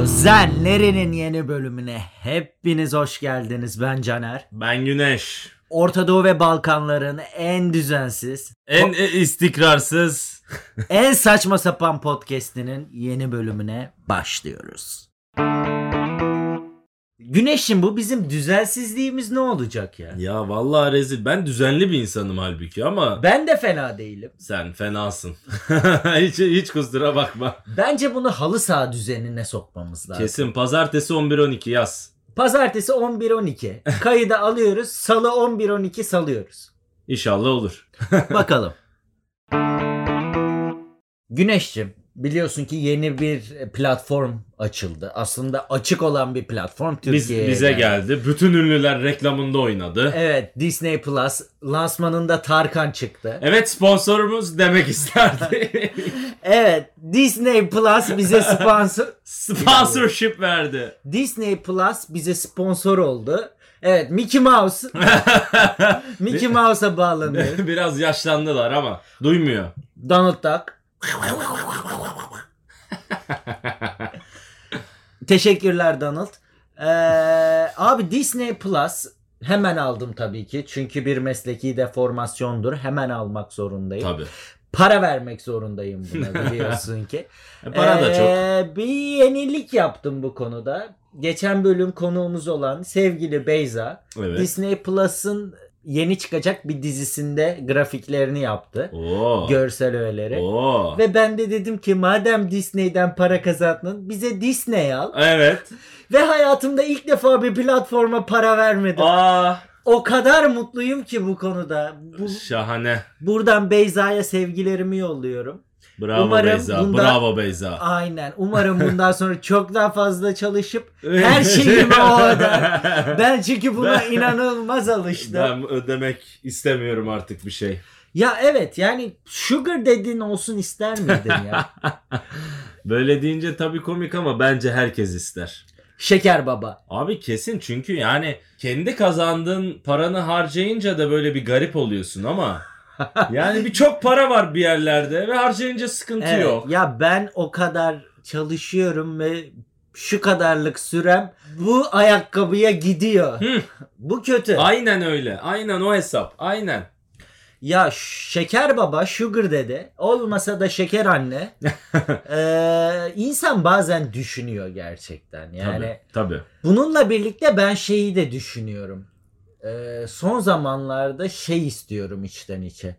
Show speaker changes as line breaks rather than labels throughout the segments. Kuzenlerin yeni bölümüne hepiniz hoş geldiniz. Ben Caner.
Ben Güneş.
Orta Doğu ve Balkanların en düzensiz,
En e, istikrarsız.
en saçma sapan podcast'inin yeni bölümüne başlıyoruz. Güneş'im bu bizim düzensizliğimiz ne olacak ya?
Ya vallahi rezil. Ben düzenli bir insanım halbuki ama
Ben de fena değilim.
sen fenasın. hiç, hiç kusura bakma.
Bence bunu halı saha düzenine sokmamız lazım.
Kesin pazartesi 11-12 yaz.
Pazartesi 11-12. Kayıda alıyoruz. Salı 11-12 salıyoruz.
İnşallah olur.
Bakalım. Güneş'cim biliyorsun ki yeni bir platform açıldı. Aslında açık olan bir platform
Biz,
Türkiye'ye.
bize geldi. Bütün ünlüler reklamında oynadı. Evet.
Evet Disney Plus lansmanında Tarkan çıktı.
sponsorumuz demek isterdi.
Evet Disney Plus bize sponsor
Sponsorship verdi.
Disney Plus bize sponsor oldu. Evet Mickey Mouse Mickey Mouse'a bağlanıyor.
Biraz yaşlandılar ama duymuyor.
Donald Duck. Teşekkürler Donald. Ee, abi Disney Plus hemen aldım tabii ki. Çünkü bir mesleki deformasyondur. Hemen almak zorundayım.
Tabii.
Para vermek zorundayım buna biliyorsun ki.
E, para da çok.
Ee, Bir yenilik yaptım bu konuda. Geçen bölüm konuğumuz olan sevgili Beyza
Evet.
Disney Plus'ın yeni çıkacak bir dizisinde grafiklerini yaptı.
Oo.
Görsel öğeleri.
Oo.
Ve ben de dedim ki madem Disney'den para kazandın bize Disney al.
Evet.
Ve hayatımda ilk defa bir platforma para vermedim.
Aa.
O kadar mutluyum ki bu konuda. Bu,
Şahane.
buradan Beyza'ya sevgilerimi yolluyorum.
Bravo
Umarım
Beyza.
bundan-
Bravo Beyza.
Aynen. Umarım bundan sonra çok daha fazla çalışıp her şeyimi o öder. Ben çünkü buna
Ben-
inanılmaz alıştım.
Ben ödemek istemiyorum artık bir şey.
Ya evet yani sugar dedin olsun ister miydin ya?
Böyle deyince tabii komik ama bence herkes ister.
Şeker baba.
Abi kesin çünkü yani kendi kazandığın paranı harcayınca da böyle bir garip oluyorsun ama yani bir çok para var bir yerlerde ve harcayınca sıkıntı
Evet,
yok.
Ya ben o kadar çalışıyorum ve şu kadarlık sürem bu ayakkabıya gidiyor.
Hı.
Bu kötü.
Aynen öyle. Aynen o hesap. Aynen.
ya şeker baba sugar dedi. Olmasa da şeker anne. ee, insan bazen düşünüyor gerçekten. Yani
Tabii.
bununla birlikte ben şeyi de düşünüyorum. Ee, son zamanlarda şey istiyorum içten içe.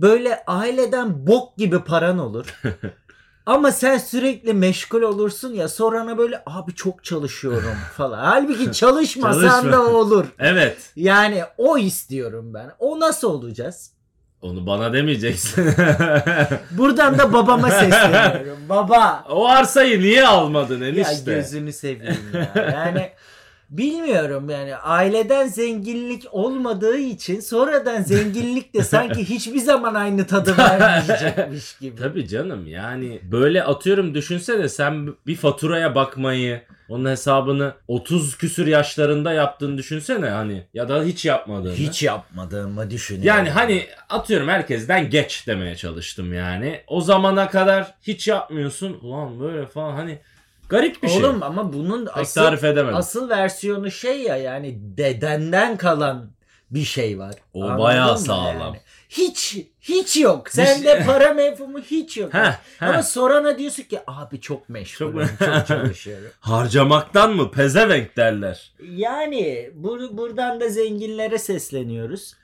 Böyle aileden bok gibi paran olur. Ama sen sürekli meşgul olursun ya sorana böyle abi çok çalışıyorum falan. Halbuki çalışmasan
Çalışma.
da olur.
Evet.
Yani o istiyorum ben. O nasıl olacağız?
Onu bana demeyeceksin.
Buradan da babama sesleniyorum. Baba.
o arsayı niye almadın
Ya
enişte?
gözünü seveyim ya. Yani bilmiyorum yani aileden zenginlik olmadığı için sonradan zenginlik de sanki hiçbir zaman aynı tadı vermeyecekmiş gibi.
Tabii canım yani böyle atıyorum düşünsene sen bir faturaya bakmayı onun hesabını 30 küsür yaşlarında yaptığını düşünsene hani ya da hiç yapmadığını.
Hiç yapmadığımı düşünüyorum.
yani hani atıyorum herkesten geç demeye çalıştım yani. O zamana kadar hiç yapmıyorsun. Ulan böyle falan hani garip bir şey.
Oğlum ama bunun
Pek
asıl,
tarif edemedim.
asıl versiyonu şey ya yani dedenden kalan bir şey var.
O
Anladın
bayağı
mı
sağlam. şey-
Hiç hiç yok. Sende para mevhumu hiç yok.
Heh, heh.
Ama sorana diyorsun ki abi çok meşgulüm,
Çok-
çok çalışıyorum.
Harcamaktan mı pezevenk derler.
Yani bur- buradan da zenginlere sesleniyoruz.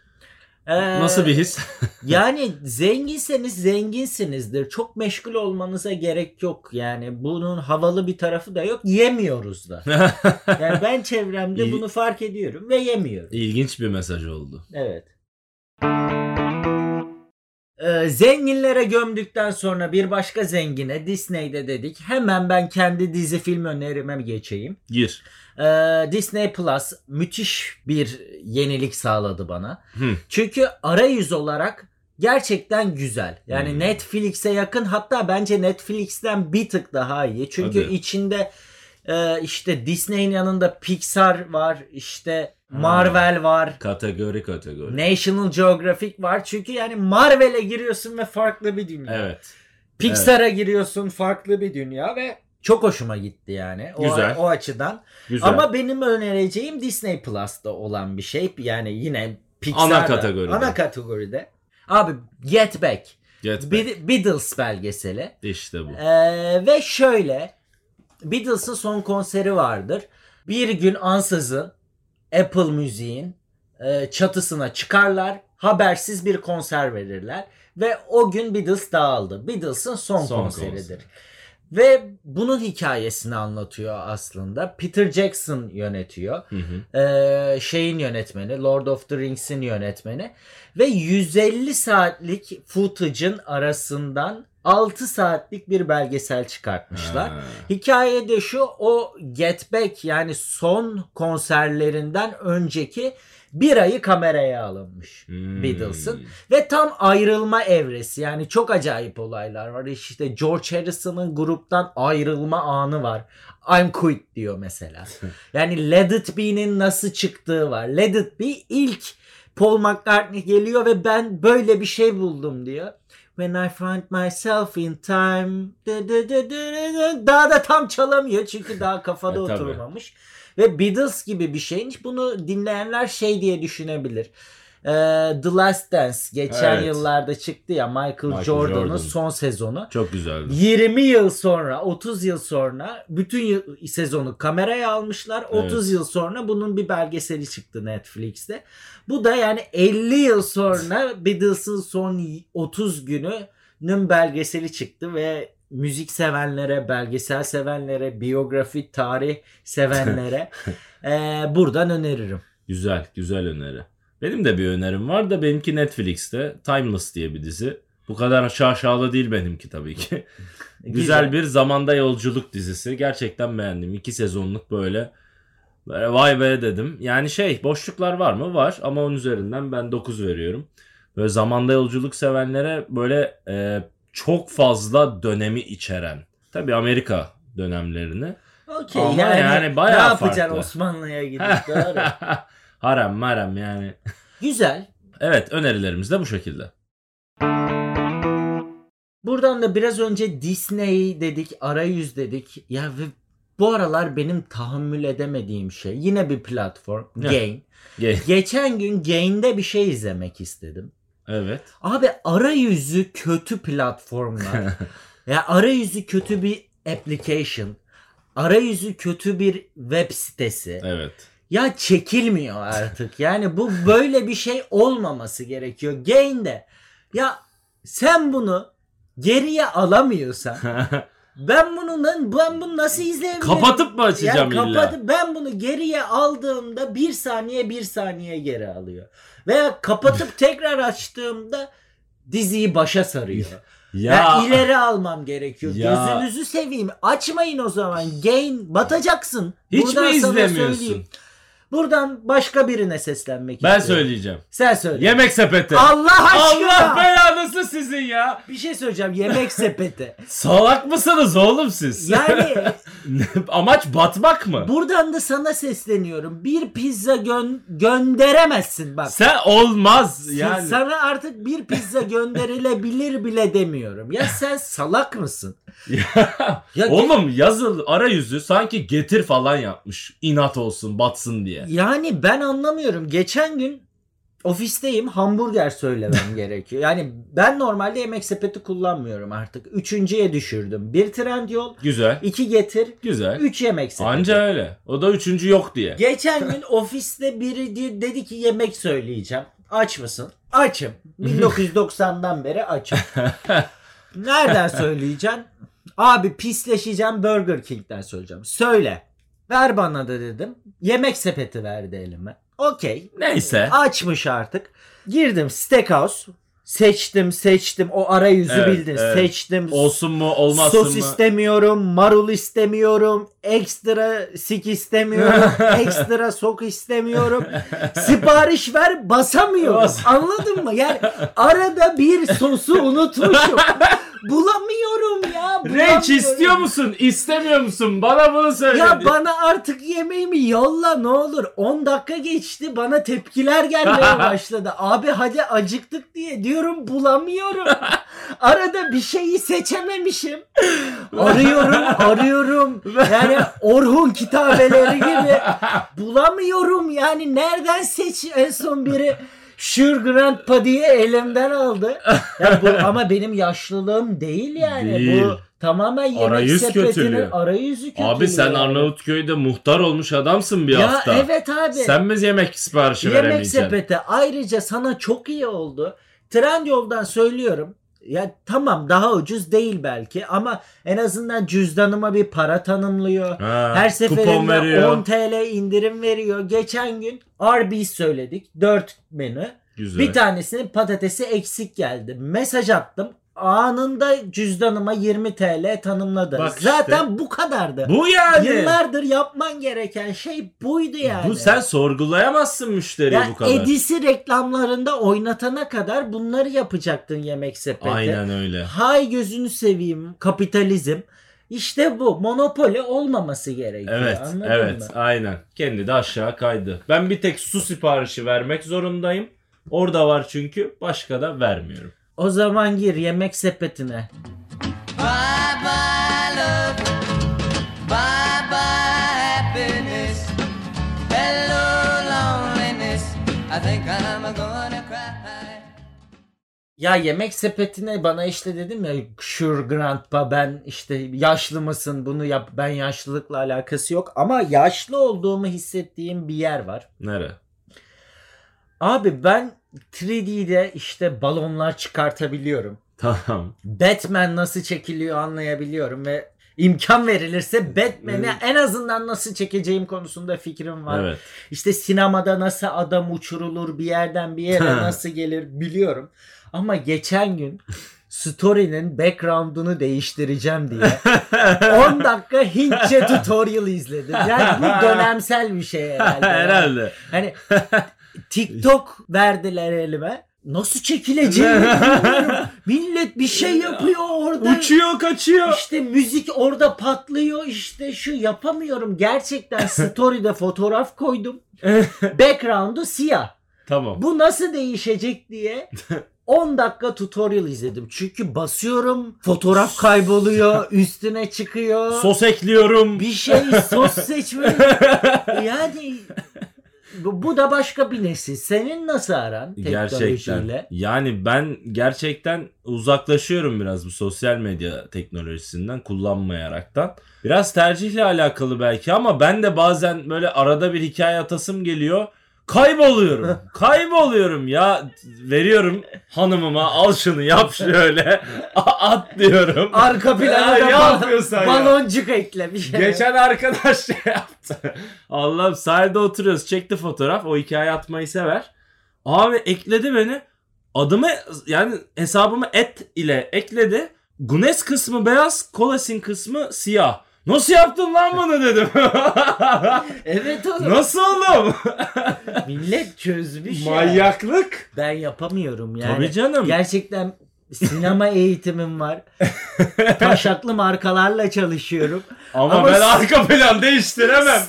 Ee,
Nasıl bir his?
Yani zenginseniz zenginsinizdir. Çok meşgul olmanıza gerek yok. Yani bunun havalı bir tarafı da yok. Yemiyoruz da. Yani ben çevremde
İyi.
bunu fark ediyorum ve yemiyorum.
İlginç bir mesaj oldu.
Evet. Ee, zenginlere gömdükten sonra bir başka zengine Disney'de dedik. Hemen ben kendi dizi film önerime geçeyim.
Gir.
Ee, Disney Plus müthiş bir yenilik sağladı bana.
Hı.
Çünkü arayüz olarak gerçekten güzel. Yani
Hmm.
Netflix'e yakın hatta bence Netflix'ten bir tık daha iyi. Çünkü
Hadi.
içinde e, işte Disney'in yanında Pixar var, işte
Ha.
Marvel
Hmm.
var.
Kategori kategori.
National Geographic var. Çünkü yani Marvel'e giriyorsun ve farklı bir dünya.
Evet.
Pixar'a giriyorsun farklı bir dünya ve Çok hoşuma gitti yani. O,
Güzel.
o açıdan.
Güzel.
Ama benim önereceğim Disney Plus'ta olan bir şey. Yani yine Pixar'da.
Ana kategoride.
Ana kategoride. Abi Get Back.
Get back.
Bid- Beatles belgeseli.
İşte bu.
Ee, ve şöyle Beatles'ın son konseri vardır. Bir gün ansızın Apple Müziğin e, çatısına çıkarlar. Habersiz bir konser verirler. Ve o gün Beatles dağıldı. Beatles'ın son,
Son
konseridir.
konser.
Ve bunun hikayesini anlatıyor aslında. Peter Jackson yönetiyor.
Hı hı.
Ee, şeyin yönetmeni, Lord of the Rings'in yönetmeni ve 150 saatlik footage'ın arasından 6 saatlik bir belgesel çıkartmışlar.
Ha.
Hikaye de şu o Get Back yani son konserlerinden önceki bir ayı kameraya alınmış.
Hmm.
Beatles'ın. Ve tam ayrılma evresi yani çok acayip olaylar var. İşte George Harrison'ın gruptan ayrılma anı var. I'm quit diyor mesela. Yani Let It Be'nin nasıl çıktığı var. Let It Be ilk Paul McCartney geliyor ve ben böyle bir şey buldum diyor. When I find myself in time dı dı dı dı dı dı. daha da tam çalamıyor çünkü daha kafada
E, tabii.
oturmamış. Ve Beatles gibi bir şeymiş. Bunu dinleyenler şey diye düşünebilir. Ee, The Last Dance geçen
Evet.
yıllarda çıktı ya Michael,
Michael
Jordan'ın
Jordan.
son sezonu.
Çok güzeldi.
20 yıl sonra, 30 yıl sonra bütün yıl- sezonu kameraya almışlar. 30 yıl sonra bunun bir belgeseli çıktı Netflix'te. Bu da yani 50 yıl sonra Beatles'ın son y- 30 gününün belgeseli çıktı ve müzik sevenlere, belgesel sevenlere, biyografi, tarih sevenlere eee, buradan öneririm.
Güzel, güzel öneri. Benim de bir önerim var da benimki Netflix'te Timeless diye bir dizi. Bu kadar şaşalı değil benimki tabii ki. Güzel bir zamanda yolculuk dizisi. Gerçekten beğendim. İki sezonluk böyle. Böyle vay be dedim. Yani şey boşluklar var mı? Var ama onun üzerinden ben 9 veriyorum. Böyle zamanda yolculuk sevenlere böyle e, çok fazla dönemi içeren. Tabii Amerika dönemlerini.
Okey,
Ama
yani,
yani
ne
bayağı
yapacaksın
farklı.
Osmanlı'ya gidip doğru.
Haram maram yani.
Güzel.
Evet önerilerimiz de bu şekilde.
Buradan da biraz önce Disney dedik, arayüz dedik. Ya ve bu aralar benim tahammül edemediğim şey yine bir platform
Ne?
Gain.
Ge-
Geçen gün Gain'de bir şey izlemek istedim.
Evet.
Abi arayüzü kötü platformlar. ya arayüzü kötü bir application. Arayüzü kötü bir web sitesi.
Evet.
Ya çekilmiyor artık. Yani bu böyle bir şey olmaması gerekiyor. Gain'de. Ya sen bunu geriye alamıyorsan ben bunu lan- ben bunu nasıl izleyebilirim?
Kapatıp mı açacağım
yani
illa?
kapatıp- ben bunu geriye aldığımda bir saniye bir saniye geri alıyor. Veya kapatıp tekrar açtığımda diziyi başa sarıyor. Ya, ileri almam gerekiyor.
Ya.
Gözünüzü seveyim. Açmayın o zaman. Gain batacaksın.
hiç mi
Buradan sana
izlemiyorsun?
söyleyeyim. Buradan başka birine seslenmek
Ben
istiyorum.
söyleyeceğim.
Sen söyle.
Yemek sepeti.
Allah aşkına.
Allah belanızı sizin ya.
bir şey söyleyeceğim. Yemek sepeti.
Salak mısınız oğlum siz?
Yani
Amaç batmak mı?
buradan da sana sesleniyorum. Bir pizza gön- gönderemezsin bak.
Sen olmaz
Sen-
yani.
Sana artık bir pizza gönderilebilir bile demiyorum. Ya sen salak mısın? Ya-
oğlum yazıl arayüzü sanki getir falan yapmış. İnat olsun batsın diye.
Yani ben anlamıyorum. Geçen gün ofisteyim hamburger söylemem gerekiyor. Yani ben normalde yemek sepeti kullanmıyorum artık. Üçüncüye düşürdüm. Bir trend yol,
Güzel.
iki getir,
Güzel.
üç yemek sepeti.
Anca öyle. O da üçüncü yok diye.
Geçen gün ofiste biri di- dedi ki yemek söyleyeceğim. Aç mısın? Açım. 1990'dan beri açım. Nereden söyleyeceksin? Abi pisleşeceğim Burger King'den söyleyeceğim. Söyle. Ver bana da dedim. Yemek sepeti verdi elime. Okey.
Neyse.
Açmış artık. Girdim Steakhouse. Seçtim seçtim. O arayüzü
Evet,
bildin.
evet.
Seçtim.
Olsun mu olmasın
Sos
mı?
istemiyorum, marul istemiyorum, ekstra sik istemiyorum, ekstra sok istemiyorum. Sipariş ver basamıyorum.
Bas-
Anladın mı? Yani arada bir sosu unutmuşum. Bulamıyorum ya.
Reç
bulamıyorum.
istiyor musun? İstemiyor musun? Bana bunu söyle.
Ya
diye.
bana artık yemeğimi yolla ne olur. 10 dakika geçti bana tepkiler gelmeye başladı. Abi hadi acıktık diye diyorum bulamıyorum. Arada bir şeyi seçememişim. Arıyorum arıyorum. Yani Orhun kitabeleri gibi. Bulamıyorum yani nereden seç en son biri. Sure Grandpa diye elimden aldı. Ya bu, ama benim yaşlılığım değil yani.
Değil.
Bu tamamen yemek
Arayüz
sepetinin
kötülüğü.
arayüzü kötülüğü.
Abi sen
yani.
Arnavutköy'de muhtar olmuş adamsın bir
ya
hafta.
evet abi.
Sen mi yemek siparişi
Yemek
veremeyeceksin?
sepeti ayrıca sana çok iyi oldu. Trendyol'dan söylüyorum. Ya tamam daha ucuz değil belki ama en azından cüzdanıma bir para tanımlıyor.
Ha,
Her
kupon
seferinde
veriyor.
10 TL indirim veriyor. Geçen gün Arby's söyledik. 4 menü.
Güzel.
Bir tanesinin patatesi eksik geldi. Mesaj attım. Anında cüzdanıma 20 TL tanımladı.
Bak işte.
Zaten bu kadardı.
Bu yani.
Yıllardır yapman gereken şey buydu yani.
Bu sen sorgulayamazsın müşteriyi
Ya
bu kadar.
Edisi reklamlarında oynatana kadar bunları yapacaktın yemek sepeti.
Aynen öyle.
Hay gözünü seveyim kapitalizm. İşte bu monopoli olmaması gerekiyor.
Evet,
anladın
evet,
mı?
aynen. Kendi de aşağı kaydı. Ben bir tek su siparişi vermek zorundayım. Orada var çünkü başka da vermiyorum.
O zaman gir yemek sepetine.
Bye bye love. Bye bye happiness. Hello loneliness. I think I'm gonna cry.
Ya yemek sepetine bana işte dedim ya sure grandpa ben işte yaşlı mısın bunu yap ben yaşlılıkla alakası yok ama yaşlı olduğumu hissettiğim bir yer var.
Nere?
Abi ben 3D'de işte balonlar çıkartabiliyorum.
Tamam.
Batman nasıl çekiliyor anlayabiliyorum ve imkan verilirse Batman'i
Evet.
en azından nasıl çekeceğim konusunda fikrim var.
Evet.
İşte sinemada nasıl adam uçurulur bir yerden bir yere nasıl gelir biliyorum. Ama geçen gün story'nin background'unu değiştireceğim diye 10 dakika Hintçe tutorial izledim. Yani bu dönemsel bir şey herhalde.
Herhalde.
Hani TikTok verdiler elime. Nasıl çekileceğini bilmiyorum. Millet bir şey yapıyor orada.
Uçuyor, kaçıyor.
İşte müzik orada patlıyor işte şu yapamıyorum. Gerçekten story'de fotoğraf koydum. Background'u siyah.
Tamam.
Bu nasıl değişecek diye 10 dakika tutorial izledim. Çünkü basıyorum fotoğraf kayboluyor üstüne çıkıyor.
Sos ekliyorum.
Bir şey sos seçmeli. yani bu, bu da başka bir nesil. Senin nasıl aran
Gerçekten.
teknolojiyle?
Yani ben gerçekten uzaklaşıyorum biraz bu sosyal medya teknolojisinden kullanmayaraktan. Biraz tercihle alakalı belki ama ben de bazen böyle arada bir hikaye atasım geliyor. Kayboluyorum. Kayboluyorum ya. Veriyorum hanımıma al şunu yap şöyle. A- At diyorum.
Arka plana
Ya,
da
ne
bal-
yapıyorsun ya?
baloncuk şey. eklemiş.
Geçen arkadaş şey yaptı. Allah'ım sahilde oturuyoruz. Çekti fotoğraf. O hikaye atmayı sever. Abi ekledi beni. Adımı yani hesabımı et ile ekledi. Gunes kısmı beyaz, Kolasin kısmı siyah. Nasıl yaptın lan bunu dedim.
Evet oğlum.
Nasıl oğlum?
Millet çözmüş ya.
Manyaklık.
Ben yapamıyorum şey yani.
Tabii canım.
Gerçekten sinema eğitimim var. Taşaklı markalarla çalışıyorum.
Ama,
Ama
ben
s-
arka plan değiştiremem.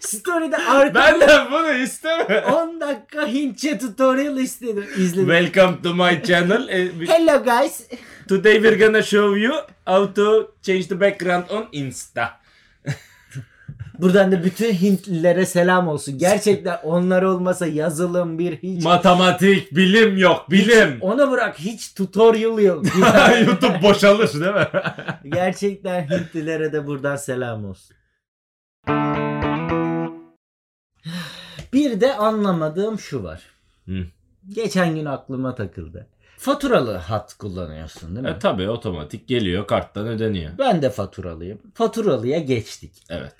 Story'de arka
ben de bunu istemem.
10 dakika Hintçe tutorial istedim. izledim.
Welcome to my channel. E, bir-
Hello guys.
Today we're gonna show you how to change the background on Insta.
Buradan da bütün Hintlilere selam olsun. Gerçekten onlar olmasa yazılım bir hiç.
Matematik, bilim yok, bilim.
Onu bırak hiç tutorial yok.
YouTube boşalır değil mi?
Gerçekten Hintlilere de buradan selam olsun. Bir de anlamadığım şu var.
Hı.
Geçen gün aklıma takıldı. Faturalı hat kullanıyorsun değil mi?
e tabi otomatik geliyor karttan ödeniyor.
Ben de faturalıyım. Faturalıya geçtik.
Evet.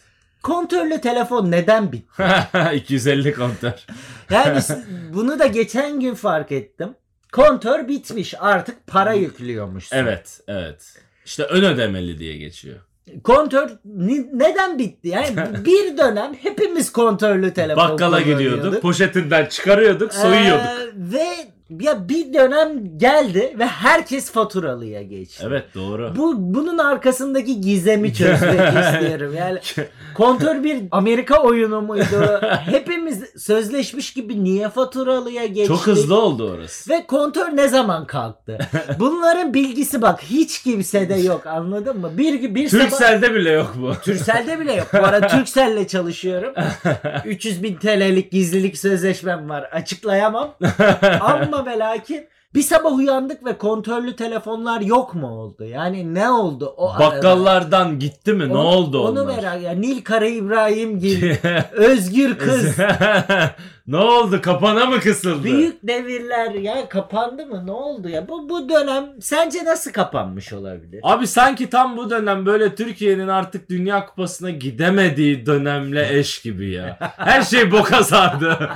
Kontörlü telefon neden bitti?
250 kontör.
Yani siz- bunu da geçen gün fark ettim. Kontör bitmiş artık para yüklüyormuş.
Evet, evet. İşte ön ödemeli diye geçiyor.
Kontör ni- neden bitti? Yani bir dönem hepimiz kontörlü telefon
Bakkala
kullanıyorduk.
gidiyorduk, poşetinden çıkarıyorduk, soyuyorduk.
Ee, ve ya bir dönem geldi ve herkes faturalıya geçti.
Evet doğru.
Bu bunun arkasındaki gizemi çözmek istiyorum. Yani kontör bir Amerika oyunu muydu? Hepimiz sözleşmiş gibi niye faturalıya geçtik?
Çok hızlı oldu orası.
Ve kontör ne zaman kalktı? Bunların bilgisi bak hiç kimsede yok anladın mı? Bir bir sabah
Türkcell'de bile yok bu.
Türkcell'de bile yok. Bu ara Türkcell'le çalışıyorum. 300 bin TL'lik gizlilik sözleşmem var. Açıklayamam. Ama ve lakin bir sabah uyandık ve kontörlü telefonlar yok mu oldu? Yani ne oldu o arada?
Bakkallardan gitti mi? ne
Onu-
oldu
onu
onlar?
merak ya Nil Kara İbrahim gibi özgür kız
ne oldu? Kapana mı kısıldı?
büyük devirler ya kapandı mı ne oldu ya bu bu dönem sence nasıl kapanmış olabilir?
Abi sanki tam bu dönem böyle Türkiye'nin artık Dünya Kupası'na gidemediği dönemle eş gibi ya. Her şey boka sardı.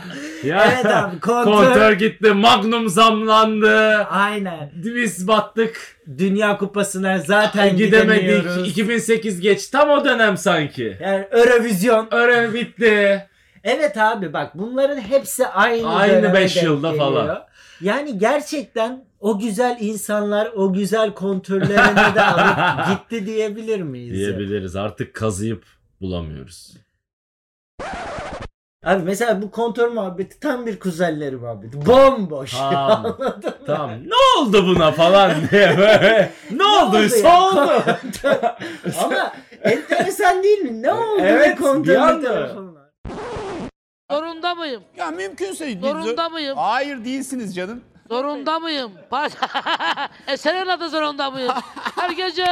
ya,
Evet abi kontör,
Kontör gitti, Magnum zamlandı.
aynen
Biz battık. E,
Dünya Kupası'na zaten
Gidemedik.
gidemiyoruz.
2008 geç. Tam o dönem sanki.
Yani Eurovision.
Öyle bitti.
Evet abi bak bunların hepsi aynı
Aynı
döneme
beş
denk
yılda
geliyor.
falan.
Yani gerçekten o güzel insanlar o güzel kontörlerine de alıp gitti diyebilir miyiz? ya?
Diyebiliriz. Artık kazıyıp bulamıyoruz.
Abi mesela bu kontör muhabbeti tam bir kuzelleri muhabbeti. Bomboş.
Tamam. tamam. Ne oldu buna falan diye böyle. Ne, olduysa
ya?
oldu.
Ama enteresan değil mi? Ne oldu
Evet,
evet,
bir
kontörlü
anda.
telefonlar?
Zorunda mıyım?
Ya mümkünse.
Zorunda mıyım?
Hayır değilsiniz canım.
Zorunda mıyım? Pa- Eserin adı zorunda mıyım? Her gece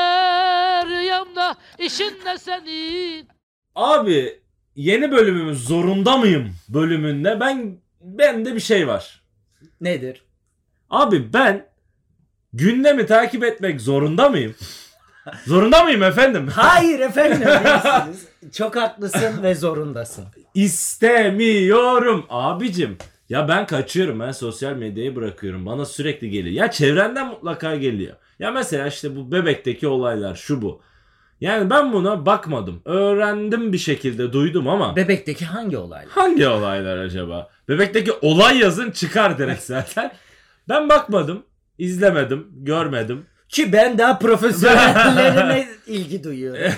rüyamda işin ne senin?
Abi yeni bölümümüz zorunda mıyım bölümünde ben bende bir şey var.
Nedir?
Abi ben gündemi takip etmek zorunda mıyım? zorunda mıyım efendim?
Hayır efendim değilsiniz. Çok haklısın ve zorundasın.
İstemiyorum abicim. Ya ben kaçıyorum ben sosyal medyayı bırakıyorum bana sürekli geliyor. Ya çevrenden mutlaka geliyor. Ya mesela işte bu bebekteki olaylar şu bu. Yani ben buna bakmadım. Öğrendim bir şekilde duydum ama.
Bebekteki hangi olaylar?
Hangi olaylar acaba? Bebekteki olay yazın çıkar direkt zaten. Ben bakmadım, izlemedim, görmedim.
Ki ben daha profesyonellerine ilgi duyuyorum.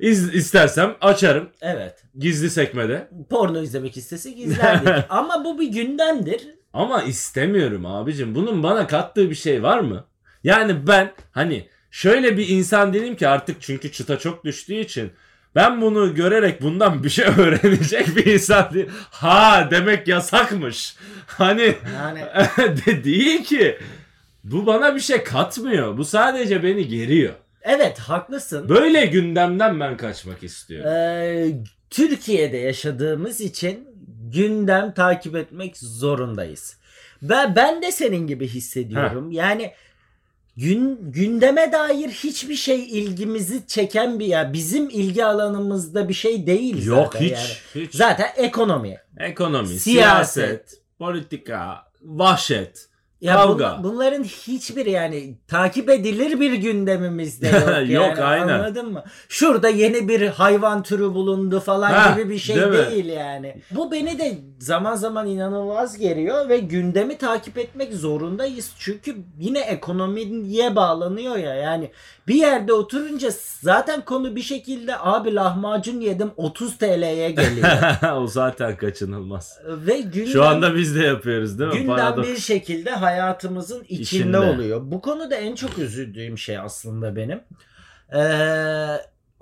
İz, istersem açarım
Evet.
gizli sekmede.
Porno izlemek istese gizlerdik. Ama bu bir gündemdir.
Ama istemiyorum abicim. Bunun bana kattığı bir şey var mı? Yani ben hani şöyle bir insan değilim ki artık çünkü çıta çok düştüğü için ben bunu görerek bundan bir şey öğrenecek bir insan değil. Ha demek yasakmış. Hani
Yani
de değil ki. Bu bana bir şey katmıyor. Bu sadece beni geriyor.
evet haklısın.
Böyle gündemden ben kaçmak istiyorum.
Ee, Türkiye'de yaşadığımız için gündem takip etmek zorundayız. Ben, ben de senin gibi hissediyorum. Yani gün gündeme dair hiçbir şey ilgimizi çeken bir ya bizim ilgi alanımızda bir şey değil
Yok
zaten
hiç.
yani.
hiç.
Zaten ekonomi.
Ekonomi, siyaset,
Siyaset.
politika, vahşet.
Ya
Kavga.
bun- bunların hiçbir yani takip edilir bir gündemimizde yok. Yani,
Yok, aynen.
Anladın mı? Şurada yeni bir hayvan türü bulundu falan
Ha,
gibi bir şey
değil mi?
değil yani. Bu beni de zaman zaman inanılmaz geriyor ve gündemi takip etmek zorundayız. Çünkü yine ekonomiye bağlanıyor ya yani. Bir yerde oturunca zaten konu bir şekilde abi lahmacun yedim 30 TL'ye geliyor.
o zaten kaçınılmaz.
ve gündem...
Şu anda biz de yapıyoruz değil mi?
Gündem
Paradoks.
bir şekilde hayatımızın içinde,
İçinde.
oluyor. Bu konuda en çok üzüldüğüm şey aslında benim. Ee,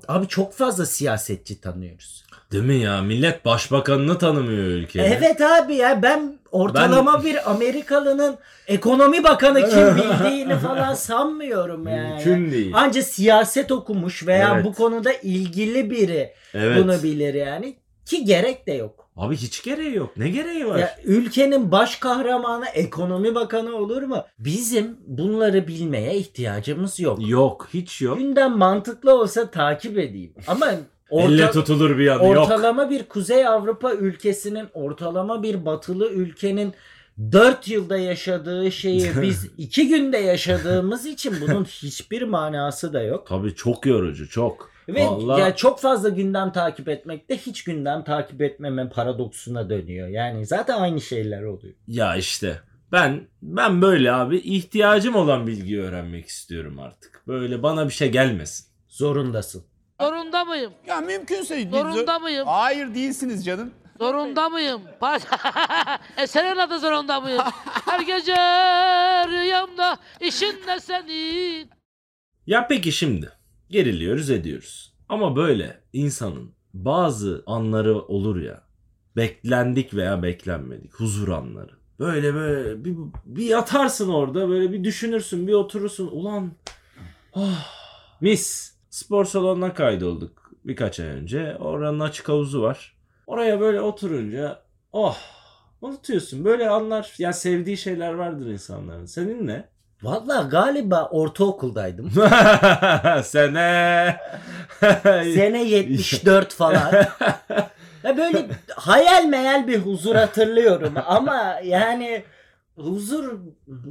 abi çok fazla siyasetçi tanıyoruz.
Değil mi ya? Millet başbakanını tanımıyor ülkenin.
Evet abi ya ben ortalama bir Amerikalı'nın ekonomi bakanı kim bildiğini falan sanmıyorum yani.
Mümkün değil.
Anca siyaset okumuş veya
Evet.
bu konuda ilgili biri
Evet.
bunu bilir yani. Ki gerek de yok.
Abi hiç gereği yok. Ne gereği var?
Ya ülkenin baş kahramanı ekonomi bakanı olur mu? Bizim bunları bilmeye ihtiyacımız yok.
Yok. Hiç yok.
Gündem mantıklı olsa takip edeyim. Ama orta-
Elle tutulur bir yanı yok.
ortalama bir Kuzey Avrupa ülkesinin, ortalama bir batılı ülkenin 4 yılda yaşadığı şeyi biz 2 günde yaşadığımız için bunun hiçbir manası da yok.
Tabii çok yorucu çok.
Ve
Vallahi-
ya çok fazla gündem takip etmekte hiç gündem takip etmeme paradoksuna dönüyor. Yani zaten aynı şeyler oluyor.
Ya işte ben ben böyle abi ihtiyacım olan bilgiyi öğrenmek istiyorum artık. Böyle bana bir şey gelmesin.
Zorundasın.
Zorunda mıyım?
Ya mümkünse...
Zorunda mıyım?
Hayır değilsiniz canım.
Zorunda mıyım? Pa- e senin adı zorunda mıyım? Her gece rüyamda işin ne senin?
Ya peki şimdi geriliyoruz ediyoruz. Ama böyle insanın bazı anları olur ya. Beklendik veya beklenmedik huzur anları. Böyle böyle bir, bir yatarsın orada böyle bir düşünürsün bir oturursun. Ulan ah, mis spor salonuna kaydolduk birkaç ay önce. Oranın açık havuzu var. Oraya böyle oturunca oh unutuyorsun böyle anlar ya sevdiği şeyler vardır insanların. Senin ne?
Vallahi galiba ortaokuldaydım.
Sene.
Sene 74 falan. Ya böyle hayal meyal bir huzur hatırlıyorum ama yani huzur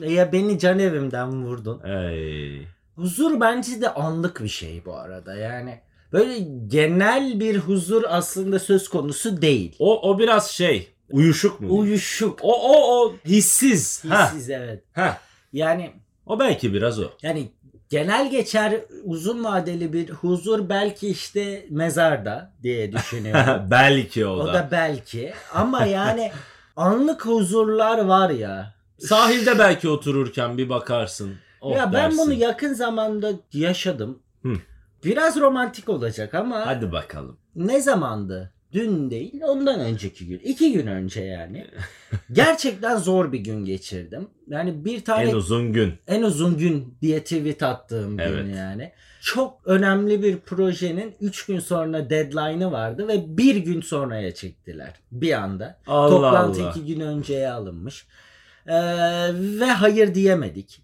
ya beni can evimden vurdun.
Ay.
Huzur bence de anlık bir şey bu arada yani. Böyle genel bir huzur aslında söz konusu değil.
O o biraz şey. Uyuşuk mu?
Uyuşuk.
o o o hissiz. Ha.
Hissiz evet.
Ha.
Yani
O belki biraz o.
yani genel geçer uzun vadeli bir huzur belki işte mezarda diye düşünüyorum.
belki o,
o
da.
da belki ama yani anlık huzurlar var ya.
Sahilde belki otururken bir bakarsın. Oh
ya ben bunu
dersin.
yakın zamanda yaşadım.
Hı.
Biraz romantik olacak ama
Hadi bakalım.
ne zamandı? Dün değil, ondan önceki gün. iki gün önce yani. Gerçekten zor bir gün geçirdim. Yani bir tane
En uzun gün.
en uzun gün diye tweet attığım gün
Evet.
yani. Çok önemli bir projenin 3 gün sonra deadline'ı vardı ve bir gün sonraya çektiler bir anda.
Allah
Toplantı
Allah.
2 gün önceye alınmış. Ee, ve hayır diyemedik.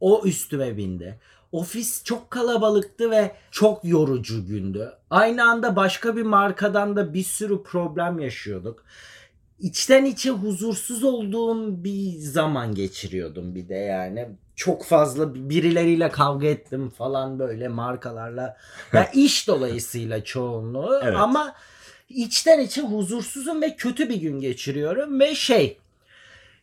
O üstüme bindi. Ofis çok kalabalıktı ve çok yorucu gündü. Aynı anda başka bir markadan da bir sürü problem yaşıyorduk. İçten içe huzursuz olduğum bir zaman geçiriyordum bir de yani. Çok fazla birileriyle kavga ettim falan böyle markalarla. Ya iş dolayısıyla çoğunluğu
Evet.
ama içten içe huzursuzum ve kötü bir gün geçiriyorum ve şey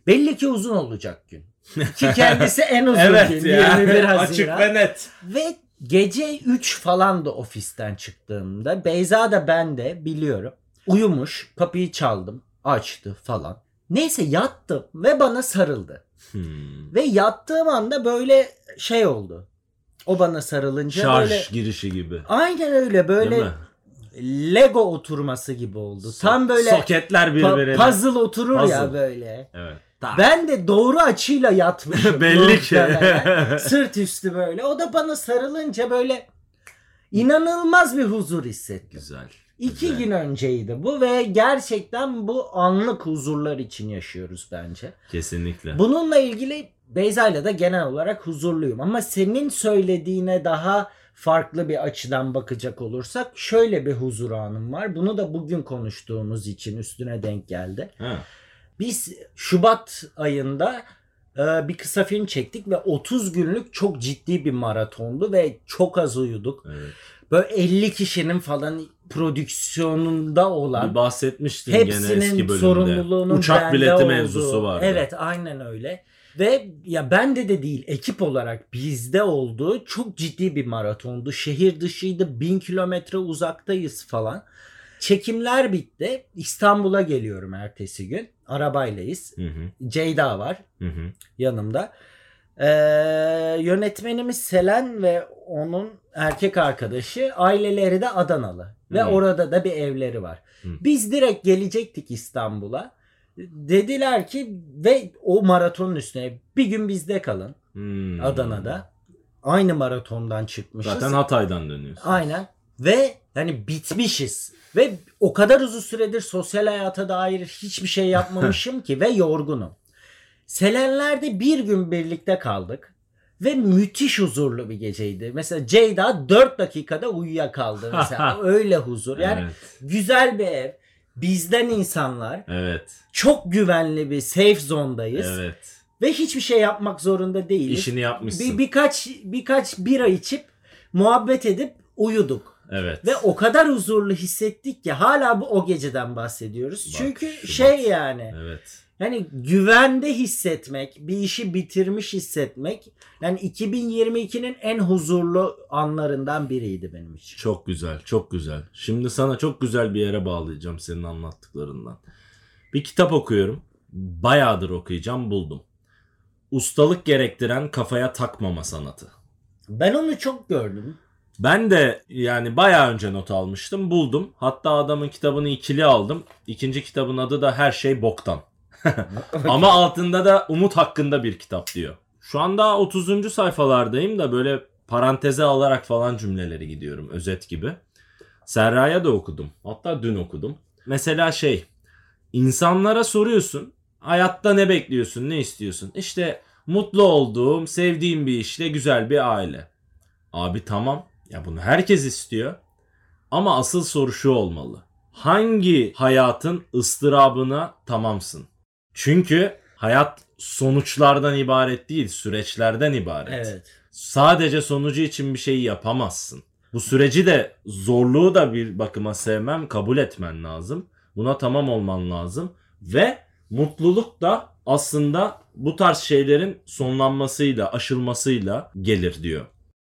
belli ki uzun olacak gün. Ki kendisi en uzun
Evet
gün
ya.
21 Haziran.
Açık ve net.
Ve gece 3 falan da ofisten çıktığımda Beyza da ben de biliyorum. Uyumuş kapıyı çaldım açtı falan. Neyse yattım ve bana sarıldı.
Hmm.
Ve yattığım anda böyle şey oldu. O bana sarılınca
Şarj
böyle...
girişi gibi.
Aynen öyle
Değil
böyle
mi?
Lego oturması gibi oldu. Tam böyle
soketler
pa-
birbirine.
puzzle oturur ya
Puzzle.
böyle.
Evet.
Ben de doğru açıyla yatmışım.
Belli ki.
muhtemelen. Sırt üstü böyle. O da bana sarılınca böyle inanılmaz bir huzur hissettim.
Güzel.
İki
güzel.
gün önceydi bu ve gerçekten bu anlık huzurlar için yaşıyoruz bence.
Kesinlikle.
Bununla ilgili Beyza'yla da genel olarak huzurluyum. Ama senin söylediğine daha farklı bir açıdan bakacak olursak şöyle bir huzur anım var. Bunu da bugün konuştuğumuz için üstüne denk geldi.
Ha.
Biz Şubat ayında e, bir kısa film çektik ve 30 günlük çok ciddi bir maratondu ve çok az uyuduk.
Evet.
Böyle 50 kişinin falan prodüksiyonunda olan
Bir bahsetmiştin gene eski
Hepsinin
bölümde.
sorumluluğunun
Uçak
bende
bileti
olduğu.
mevzusu vardı.
Evet aynen öyle. Ve ya bende de değil ekip olarak bizde olduğu çok ciddi bir maratondu. Şehir dışıydı bin kilometre uzaktayız falan. Çekimler bitti. İstanbul'a geliyorum ertesi gün. Arabaylayız.
Hı hı,
Ceyda var
hı hı.
yanımda. Ee, yönetmenimiz Selen ve onun erkek arkadaşı aileleri de Adanalı. Ve
Hı.
orada da bir evleri var.
Hı.
Biz direkt gelecektik İstanbul'a. Dediler ki ve o maratonun üstüne bir gün bizde kalın
Hmm.
Adana'da. Aynı maratondan çıkmışız.
Zaten Hatay'dan dönüyorsun.
Aynen. Ve hani bitmişiz. Ve o kadar uzun süredir sosyal hayata dair hiçbir şey yapmamışım ki ve yorgunum. Selenler'de bir gün birlikte kaldık. Ve müthiş huzurlu bir geceydi. Mesela Ceyda 4 dakikada uyuyakaldı. Mesela öyle huzur. Yani
Evet.
güzel bir ev. Bizden insanlar.
Evet.
Çok güvenli bir safe zone'dayız.
Evet.
Ve hiçbir şey yapmak zorunda değiliz.
İşini yapmışsın.
Bir, birkaç birkaç bira içip muhabbet edip uyuduk.
Evet.
Ve o kadar huzurlu hissettik ki hala bu o geceden bahsediyoruz.
Bak,
Çünkü
Şubat.
şey yani
Evet.
hani güvende hissetmek, bir işi bitirmiş hissetmek yani 2022'nin en huzurlu anlarından biriydi benim için.
Çok güzel, çok güzel. Şimdi sana çok güzel bir yere bağlayacağım senin anlattıklarından. Bir kitap okuyorum. Bayağıdır okuyacağım, buldum. Ustalık gerektiren kafaya takmama sanatı.
Ben onu çok gördüm.
Ben de yani bayağı önce not almıştım. Buldum. Hatta adamın kitabını ikili aldım. İkinci kitabın adı da Her Şey Boktan. Ama altında da Umut hakkında bir kitap diyor. Şu anda 30. sayfalardayım da böyle paranteze alarak falan cümleleri gidiyorum özet gibi. Serra'ya da okudum. Hatta dün okudum. Mesela şey insanlara soruyorsun hayatta ne bekliyorsun ne istiyorsun? İşte mutlu olduğum sevdiğim bir işle güzel bir aile. Abi tamam. Ya bunu herkes istiyor. Ama asıl soru şu olmalı. Hangi hayatın ıstırabına tamamsın? Çünkü hayat sonuçlardan ibaret değil, süreçlerden ibaret.
Evet.
Sadece sonucu için bir şeyi yapamazsın. Bu süreci de zorluğu da bir bakıma sevmem, kabul etmen lazım. Buna tamam olman lazım ve mutluluk da aslında bu tarz şeylerin sonlanmasıyla, aşılmasıyla gelir diyor.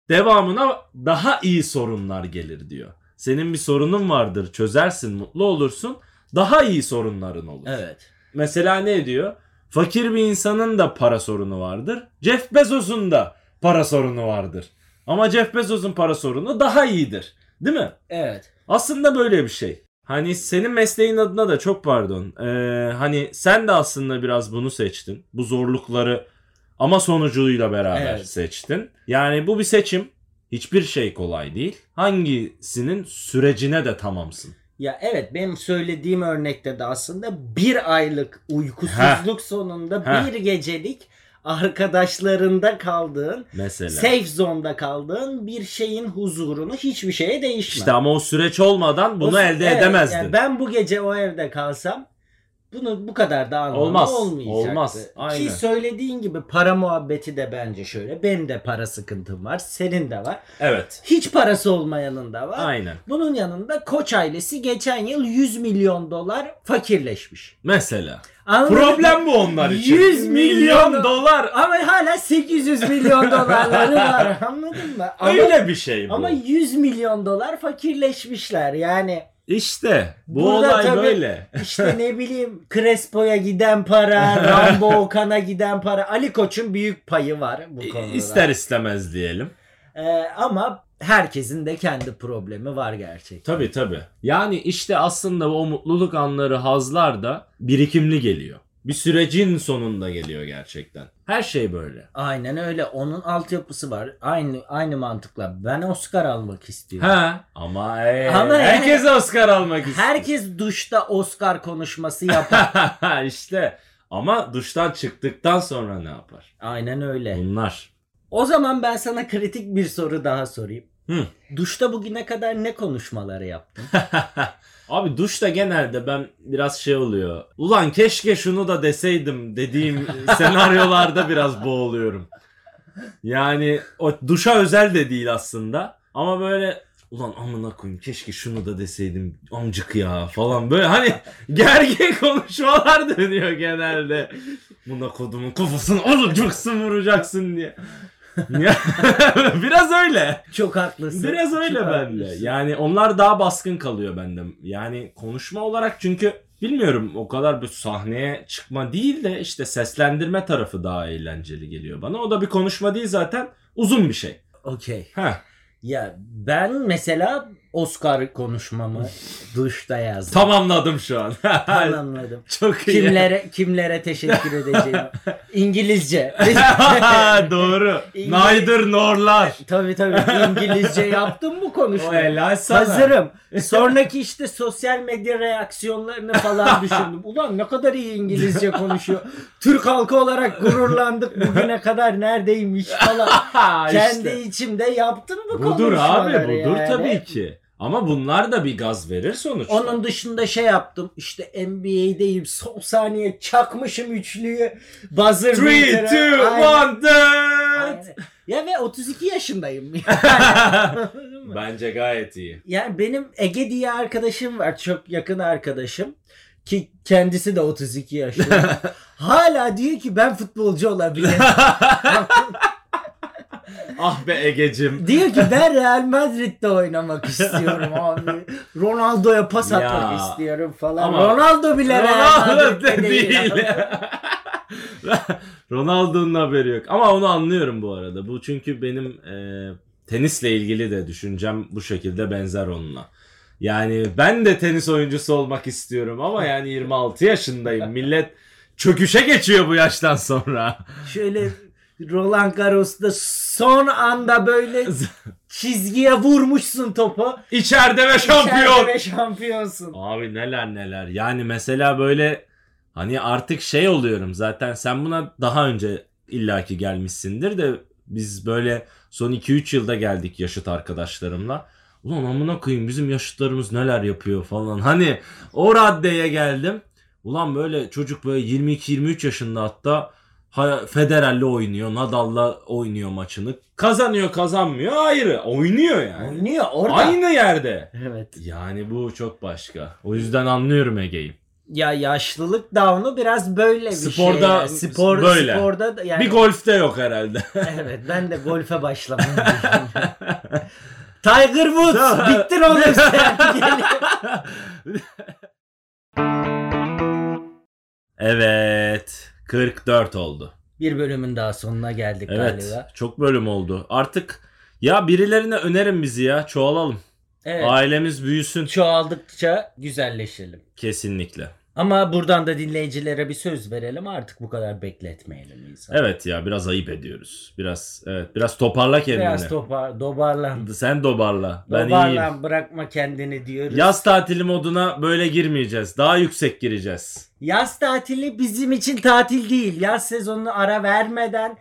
Devamına daha iyi sorunlar gelir diyor. Senin bir sorunun vardır, çözersin, mutlu olursun. Daha iyi sorunların olur.
Evet.
Mesela ne diyor? Fakir bir insanın da para sorunu vardır. Jeff Bezos'un da para sorunu vardır. Ama Jeff Bezos'un para sorunu daha iyidir. Değil mi?
Evet.
Aslında böyle bir şey. Hani senin mesleğin adına da çok pardon. Ee, hani sen de aslında biraz bunu seçtin. Bu zorlukları ama sonucuyla beraber
Evet.
seçtin. Yani bu bir seçim. Hiçbir şey kolay değil. Hangisinin sürecine de tamamsın.
Ya evet benim söylediğim örnekte de aslında bir aylık uykusuzluk sonunda
Heh.
bir gecelik arkadaşlarında kaldığın
Mesela.
safe zone'da kaldığın bir şeyin huzurunu hiçbir şeye değişmez.
işte ama o süreç olmadan bunu
O-
elde
evet,
edemezdin.
yani ben bu gece o evde kalsam bunu bu kadar da anlamı
Olmaz,
olmayacaktı.
olmaz, aynen.
Ki söylediğin gibi para muhabbeti de bence şöyle. Benim de para sıkıntım var. Senin de var.
Evet.
Hiç parası olmayanın da var.
Aynen.
Bunun yanında Koç ailesi geçen yıl 100 milyon dolar fakirleşmiş.
Mesela.
Anladın mı?
Problem bu onlar için.
100 milyon
dolar.
Ama hala 800 milyon dolarları var. Anladın mı? Ama,
Öyle bir şey bu.
ama 100 milyon dolar fakirleşmişler. Yani
işte bu
Burada
olay
tabii-
böyle.
İşte ne bileyim Crespo'ya giden para, Rambo Okan'a giden para. Ali Koç'un büyük payı var bu konuda.
İster istemez diyelim.
Ee, ama herkesin de kendi problemi var gerçekten.
Tabii tabii. Yani işte aslında o mutluluk anları hazlar da birikimli geliyor. Bir sürecin sonunda geliyor gerçekten. Her şey böyle.
Aynen öyle. Onun altyapısı var. Aynı aynı mantıkla. Ben Oscar almak istiyorum.
Ha ama, ee,
Ama
herkes Oscar almak istiyor.
Herkes duşta Oscar konuşması yapar.
işte ama duştan çıktıktan sonra ne yapar?
Aynen öyle.
Bunlar.
O zaman ben sana kritik bir soru daha sorayım.
Hı.
Duşta bugüne kadar ne konuşmaları yaptın?
Abi duşta genelde ben biraz şey oluyor. Ulan keşke şunu da deseydim dediğim senaryolarda biraz boğuluyorum. Yani o duşa özel de değil aslında. Ama böyle ulan amına koyayım keşke şunu da deseydim amcık ya falan böyle hani gergin konuşmalar dönüyor genelde. Buna kodumun kafasını olacaksın vuracaksın diye. Ya, biraz öyle.
Çok haklısın.
Biraz öyle
Çok
bende.
haklısın.
Yani onlar daha baskın kalıyor bende. Yani konuşma olarak çünkü bilmiyorum o kadar bir sahneye çıkma değil de işte seslendirme tarafı daha eğlenceli geliyor bana. O da bir konuşma değil zaten uzun bir şey.
Okey.
Heh,
Ya ben mesela Oscar konuşmamı duşta yazdım.
tamamladım şu an.
Tamamladım.
Çok iyi.
Kimlere kimlere teşekkür edeceğim? İngilizce.
Doğru.
İngiliz-
Naydır Norlar.
tabii tabii İngilizce yaptım bu
O
konuşmayı.
helal sana.
Hazırım. Sonraki işte sosyal medya reaksiyonlarını falan düşündüm. Ulan ne kadar iyi İngilizce konuşuyor. Türk halkı olarak gururlandık bugüne kadar neredeymiş falan.
Ha, işte.
Kendi içimde yaptım bu
Budur abi
konuşmaları
budur
yani.
tabii ki. Ama bunlar da bir gaz verir sonuçta.
Onun dışında şey yaptım. İşte NBA'deyim. Son saniye çakmışım üçlüyü. Buzzer
3,
beater'a.
2,
Aynen.
1,
Evet.
Yani. Ya ve 32 yaşındayım. Yani, anladın mı?
Bence gayet iyi.
Yani benim Ege diye arkadaşım var. Çok yakın arkadaşım. Ki kendisi de 32 yaşında. Hala diyor ki ben futbolcu olabilirim.
Ah be Egecim.
diyor ki ben Real Madrid'de oynamak istiyorum abi. Ronaldo'ya pas
Ya.
atmak istiyorum falan.
Ama-
Ronaldo bile Real
Ronaldo
Madrid'de
değil.
değil.
Ronaldo'nun haberi yok. Ama onu anlıyorum bu arada. Bu çünkü benim e, tenisle ilgili de düşüncem bu şekilde benzer onunla. Yani ben de tenis oyuncusu olmak istiyorum ama yani 26 yaşındayım. Millet çöküşe geçiyor bu yaştan sonra.
Şöyle Roland Garros'ta son anda böyle çizgiye vurmuşsun topu.
İçeride ve şampiyon.
İçeride ve şampiyonsun.
Abi neler neler. Yani mesela böyle hani artık şey oluyorum zaten sen buna daha önce illaki gelmişsindir de biz böyle son 2-3 yılda geldik yaşıt arkadaşlarımla. Ulan amına koyayım bizim yaşıtlarımız neler yapıyor falan. Hani o raddeye geldim. Ulan böyle çocuk böyle 22-23 yaşında hatta ha- Federer'le oynuyor, Nadal'la oynuyor maçını. Kazanıyor kazanmıyor ayrı. Oynuyor yani.
Oynuyor orada.
Aynı yerde.
Evet.
Yani bu çok başka. O yüzden anlıyorum Ege'yi.
Ya yaşlılık down'u biraz böyle bir şey.
Sporda
yani. spor
böyle.
sporda da yani
Bir golfte yok herhalde.
evet ben de golfe başlamam. Tiger Woods
Tamam.
bittin oğlum sen. Gel.
evet. 44 oldu.
bir bölümün daha sonuna geldik
Evet.
galiba.
Çok bölüm oldu. Artık ya birilerine önerin bizi ya. Çoğalalım.
Evet.
Ailemiz büyüsün.
Çoğaldıkça güzelleşelim.
Kesinlikle.
Ama buradan da dinleyicilere bir söz verelim artık bu kadar bekletmeyelim insanı.
Evet ya biraz ayıp ediyoruz. Biraz evet biraz toparla kendini.
Biraz topar, dobarlan.
Sen dobarla. Ben iyiyim.
dobarlan bırakma kendini diyoruz.
Yaz tatili moduna böyle girmeyeceğiz. Daha yüksek gireceğiz.
Yaz tatili bizim için tatil değil. Yaz sezonunu ara vermeden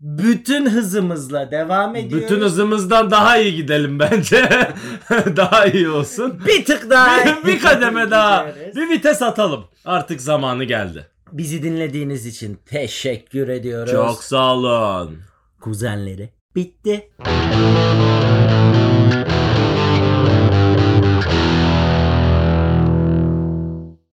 bütün hızımızla devam ediyoruz.
Bütün hızımızdan daha iyi gidelim bence. daha iyi olsun.
bir tık daha
bir kademe daha.
Gidiyoruz.
Bir vites atalım. Artık zamanı geldi.
Bizi dinlediğiniz için teşekkür ediyoruz.
Çok sağ olun.
kuzenleri. Bitti.